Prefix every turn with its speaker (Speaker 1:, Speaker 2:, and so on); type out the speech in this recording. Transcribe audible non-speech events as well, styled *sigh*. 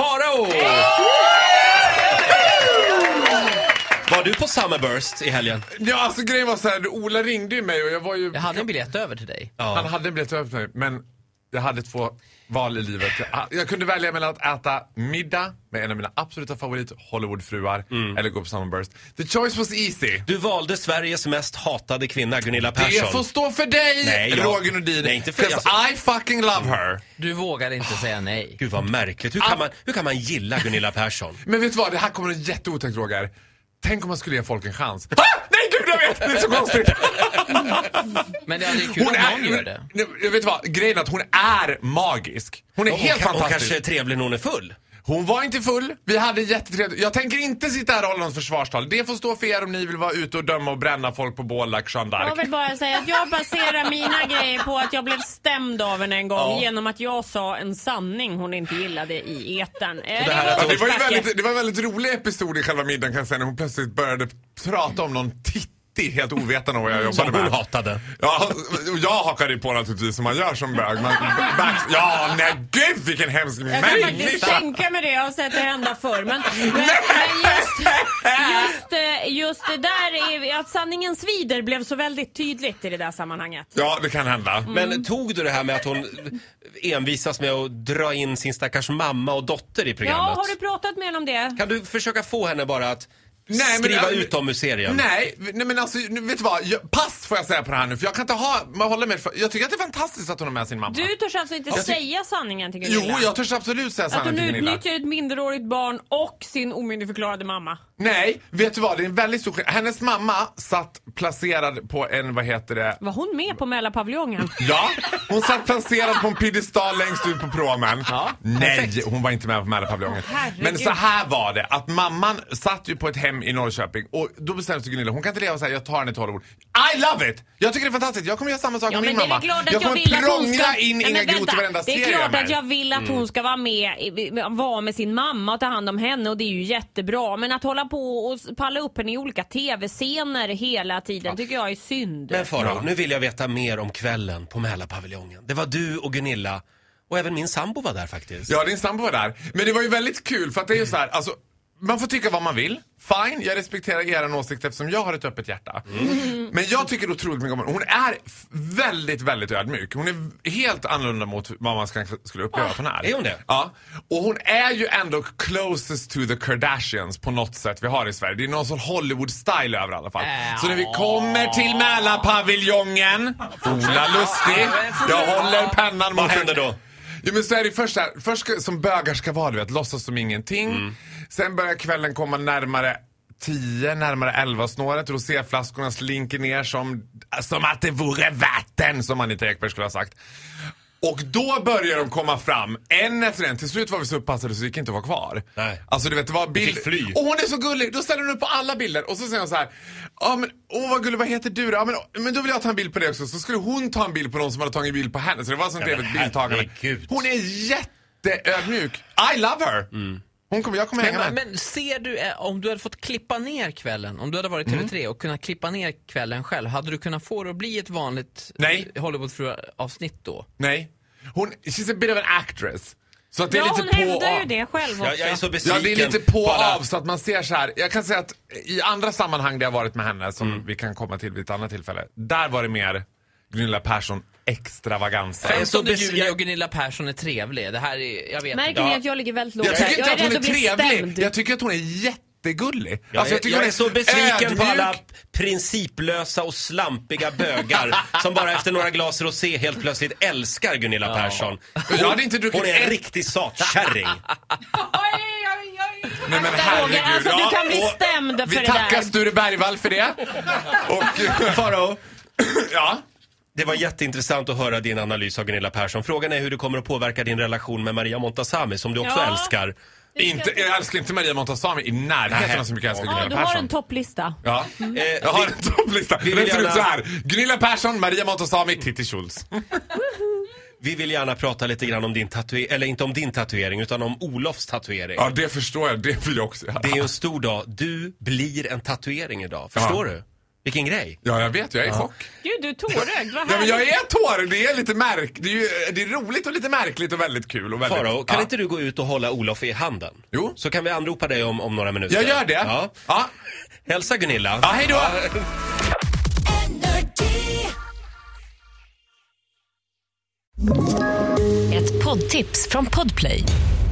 Speaker 1: Farao! Var du på Summerburst i helgen?
Speaker 2: Ja, alltså grejen var så här, Ola ringde ju mig och jag var ju...
Speaker 3: Jag hade en biljett över till dig.
Speaker 2: Han hade en biljett över för mig, men jag hade två val i livet. Jag, jag kunde välja mellan att äta middag med en av mina absoluta favorit Hollywoodfruar eller gå på Summerburst. The choice was easy.
Speaker 1: Mm. Du valde Sveriges mest hatade kvinna, Gunilla
Speaker 2: Det får
Speaker 1: Persson.
Speaker 2: stå för dig,
Speaker 1: Nej, jag-
Speaker 2: Roger Nordin.
Speaker 1: Nej, inte för-
Speaker 2: 'Cause
Speaker 1: alltså-
Speaker 2: I fucking love her. Ah.
Speaker 3: Du vågade inte säga nej.
Speaker 1: Gud vad märkligt. Hur kan man, hur kan man gilla Gunilla Persson?
Speaker 2: Men vet du vad, det här kommer en jätteotäckt Roger. Tänk om man skulle ge folk en chans. Ah! Nej gud jag vet, det är så konstigt.
Speaker 3: Men det hade ju kul om någon gör det.
Speaker 2: Nej, Jag vet vad, grejen är att hon är magisk. Hon är
Speaker 1: Hon,
Speaker 2: helt
Speaker 1: kan, hon
Speaker 2: fantastisk.
Speaker 1: kanske är trevlig när hon är full.
Speaker 2: Hon var inte full, vi hade jättetrevligt. Jag tänker inte sitta här och hålla något försvarstal. Det får stå för er om ni vill vara ute och döma och bränna folk på bål, like Jeanne
Speaker 4: Jag
Speaker 2: d'Arc.
Speaker 4: vill bara säga att jag baserar mina grejer på att jag blev stämd av henne en gång
Speaker 1: Ja.
Speaker 4: genom att jag sa en sanning hon inte gillade i etern. Eh, Det,
Speaker 1: här
Speaker 4: var
Speaker 1: att-
Speaker 2: Ja, det, var ju
Speaker 4: uppförsbacke.
Speaker 2: väldigt, det var en väldigt rolig episod i själva middagen kan jag säga när hon plötsligt började prata om någon titti helt ovetande om vad jag
Speaker 1: Som
Speaker 2: jobbade
Speaker 1: hon
Speaker 2: med.
Speaker 1: hatade.
Speaker 2: Ja, och jag hakade ju på naturligtvis som man gör som bög. Man, *laughs* backs- ja, nej gud vilken hemsk
Speaker 4: Jag kan faktiskt
Speaker 2: människa!
Speaker 4: tänka mig det, jag har sett det hända förr. Men, men, men just, just, eh, just det där, är- att sanningen svider blev så väldigt tydligt i det där sammanhanget.
Speaker 2: Ja, det kan hända.
Speaker 1: Men tog du det här med att hon envisas med att dra in sin stackars mamma och dotter i
Speaker 4: Ja,
Speaker 1: programmet?
Speaker 4: har du pratat med henne om det?
Speaker 1: Kan du försöka få henne bara att
Speaker 2: Nej, men-
Speaker 1: skriva ut dem ur serien?
Speaker 2: Nej, nej men alltså, nu- vet du vad? Jag, pass får jag säga på det här nu, för jag kan inte ha, man håller med, för- jag tycker att det är fantastiskt att hon har med sin mamma.
Speaker 4: Du törs alltså inte säga sanningen till
Speaker 2: jo,
Speaker 4: Gunilla?
Speaker 2: jag törs absolut säga
Speaker 4: Att
Speaker 2: sanningen
Speaker 4: hon
Speaker 2: till Gunilla.
Speaker 4: utnyttjar ett minderårigt barn och sin omyndigförklarade mamma.
Speaker 2: Nej, vet du vad? Det är en väldigt stor skillnad. Hennes mamma satt placerad på en, vad heter det?
Speaker 4: Var hon med på Mälarpaviljongen?
Speaker 2: Ja, hon satt placerad på en piedestal längst ut på promen.
Speaker 3: Ja,
Speaker 2: Nej,
Speaker 3: perfekt.
Speaker 2: hon var inte med på Mälarpaviljongen.
Speaker 4: Åh, herregud.
Speaker 2: Men så här var det, att mamman satt ju på ett hem i Norrköping och då bestämde sig Gunilla, hon kan inte leva så här, jag tar henne till Hollywood. I love it! Jag tycker det är fantastiskt, jag kommer göra samma sak
Speaker 4: Ja,
Speaker 2: med min
Speaker 4: men det är
Speaker 2: mamma.
Speaker 4: väl klart att jag,
Speaker 2: kommer
Speaker 4: vill att hon
Speaker 2: prångla
Speaker 4: ska...
Speaker 2: in
Speaker 4: Nej,
Speaker 2: Inga
Speaker 4: men
Speaker 2: Groth i
Speaker 4: vänta.
Speaker 2: varenda
Speaker 4: Det är
Speaker 2: serie
Speaker 4: klart
Speaker 2: med.
Speaker 4: att jag vill att
Speaker 2: Mm.
Speaker 4: hon ska vara med, i- vara med sin mamma och ta hand om henne och det är ju jättebra. Men att hålla på och s- palla upp henne i olika tv-scener hela tiden tycker jag är synd.
Speaker 1: Men Farao, nu vill jag veta mer om kvällen på Mälarpaviljongen. Det var du och Gunilla och även min sambo var där faktiskt.
Speaker 2: Ja, din sambo var där. Men det var ju väldigt kul för att det är ju så här, alltså man får tycka vad man vill. Fine, jag respekterar er åsikt eftersom jag har ett öppet hjärta.
Speaker 1: Mm.
Speaker 2: Men jag tycker otroligt mycket om henne. Hon är f- väldigt, väldigt ödmjuk. Hon är helt annorlunda mot vad man ska- skulle uppleva att hon är.
Speaker 1: Ah, är hon det?
Speaker 2: Ja. Och hon är ju ändå closest to the Kardashians på något sätt vi har i Sverige. Det är någon sån Hollywood-style över i alla fall. Så när vi kommer till Mälarpaviljongen, Ola Lustig, jag håller pennan mot...
Speaker 1: Vad händer då?
Speaker 2: Jo men så är det först så här, först ska, som bögar ska vara du vet, låtsas som ingenting.
Speaker 1: Mm.
Speaker 2: Sen börjar kvällen komma närmare 10, närmare 11 snåret. Roséflaskorna slinker ner som, som att det vore vatten som Anita Ekberg skulle ha sagt. Och då börjar de komma fram, en efter en. Till slut var vi så upppassade så vi gick inte att vara kvar.
Speaker 1: Nej.
Speaker 2: Alltså du vet, det var bild...
Speaker 1: fick fly.
Speaker 2: Och hon är så gullig! Då ställer hon upp på alla bilder och så säger hon så här. Ja men åh vad gullig, vad heter du då? Ja, men, åh, men då vill jag ta en bild på det också. Så skulle hon ta en bild på någon som hade tagit en bild på henne. Så det var sånt
Speaker 1: Ja, men
Speaker 2: trevligt bildtagande.
Speaker 1: herregud.
Speaker 2: Hon är jätteödmjuk. I love her!
Speaker 1: Mm.
Speaker 2: Hon kommer, jag kommer hänga med
Speaker 3: Men,
Speaker 2: henne.
Speaker 3: men ser du, eh, om du hade fått klippa ner kvällen, om du hade varit TV3 och kunnat klippa ner kvällen själv, hade du kunnat få det att bli ett vanligt
Speaker 2: Nej.
Speaker 3: eh, Hollywoodfru-avsnitt då?
Speaker 2: Nej. Hon, she's a bit of an actress. Så att det är
Speaker 4: Ja, hon
Speaker 2: lite på
Speaker 4: hävdar ju
Speaker 2: av.
Speaker 4: det själv också.
Speaker 1: Jag, jag är så
Speaker 2: Ja,
Speaker 1: besviken.
Speaker 2: det är lite på och
Speaker 1: alla-
Speaker 2: av så att man ser så här. Jag kan säga att i andra sammanhang där jag varit med henne som
Speaker 1: Mm.
Speaker 2: vi kan komma till vid ett annat tillfälle. Där var det mer Gunilla Persson extravaganser.
Speaker 1: är
Speaker 3: Främst
Speaker 1: så
Speaker 3: om det är
Speaker 1: besv-
Speaker 3: Julia
Speaker 1: jag-
Speaker 3: och Gunilla Persson är trevlig. Det här är, jag vet
Speaker 4: Märker
Speaker 3: inte.
Speaker 4: ni att jag ligger väldigt lågt?
Speaker 2: Jag tycker
Speaker 4: här?
Speaker 2: inte att
Speaker 4: rädd
Speaker 2: hon är
Speaker 4: att bli
Speaker 2: trevlig.
Speaker 4: stämd.
Speaker 2: Jag tycker att hon är jättegullig.
Speaker 1: Jag,
Speaker 2: Alltså,
Speaker 1: är-
Speaker 2: tycker
Speaker 1: jag
Speaker 2: hon
Speaker 1: är så besviken på
Speaker 2: ödmjuk.
Speaker 1: alla principlösa och slampiga
Speaker 2: *laughs*
Speaker 1: bögar som bara efter några glas rosé helt plötsligt älskar Gunilla Persson. Hon,
Speaker 2: Jag hade inte druckit
Speaker 1: hon är en
Speaker 2: ett-
Speaker 1: riktig satkärring.
Speaker 2: Nej men herregud.
Speaker 4: Roger, alltså
Speaker 2: ja,
Speaker 4: du kan bli
Speaker 2: och
Speaker 4: stämd för
Speaker 2: Vi
Speaker 4: det
Speaker 2: tackar
Speaker 4: där.
Speaker 2: Sture Bergvall för det. Och eh,
Speaker 1: *laughs* Farao,
Speaker 2: ja.
Speaker 1: det var jätteintressant att höra din analys av Gunilla Persson. Frågan är hur det kommer att påverka din relation med Maria Montazami som du också
Speaker 4: Ja.
Speaker 1: älskar. Eh,
Speaker 2: Inte, jag älskar inte Maria Montazami i närheten
Speaker 1: Nej.
Speaker 2: av så mycket jag älskar
Speaker 4: Ja, du
Speaker 2: Gunilla
Speaker 4: har en
Speaker 2: Persson.
Speaker 4: topplista.
Speaker 2: Ja.
Speaker 1: Eh,
Speaker 2: Jag har
Speaker 1: vi-
Speaker 2: en topplista.
Speaker 1: vi vill
Speaker 2: Den ser ut
Speaker 1: gärna-
Speaker 2: så här. Gunilla Persson, Maria Montazami, Titti Schultz.
Speaker 1: Vi vill gärna prata lite grann om din tatuering, eller inte om din tatuering utan om Olofs tatuering.
Speaker 2: Ja, det förstår jag. Det vill jag också göra.
Speaker 1: Det är ju en stor dag. Du blir en tatuering idag. Förstår
Speaker 2: Ja.
Speaker 1: du? Vilken grej.
Speaker 2: Ja, jag vet. Jag är i chock.
Speaker 4: Gud, du är tårögd. Vad
Speaker 2: Ja, men
Speaker 4: härligt.
Speaker 2: jag är tårögd. Det är lite märk... Det är, ju, det är roligt och lite märkligt och väldigt kul. Och väldigt...
Speaker 1: Faro, kan
Speaker 2: ja.
Speaker 1: inte du gå ut och hålla Olof i handen?
Speaker 2: Jo.
Speaker 1: Så kan vi anropa dig om, om några minuter.
Speaker 2: Jag gör det.
Speaker 1: Ja.
Speaker 2: Ja.
Speaker 1: Hälsa Gunilla.
Speaker 2: Ja, hej då.
Speaker 5: Ett poddtips från Podplay.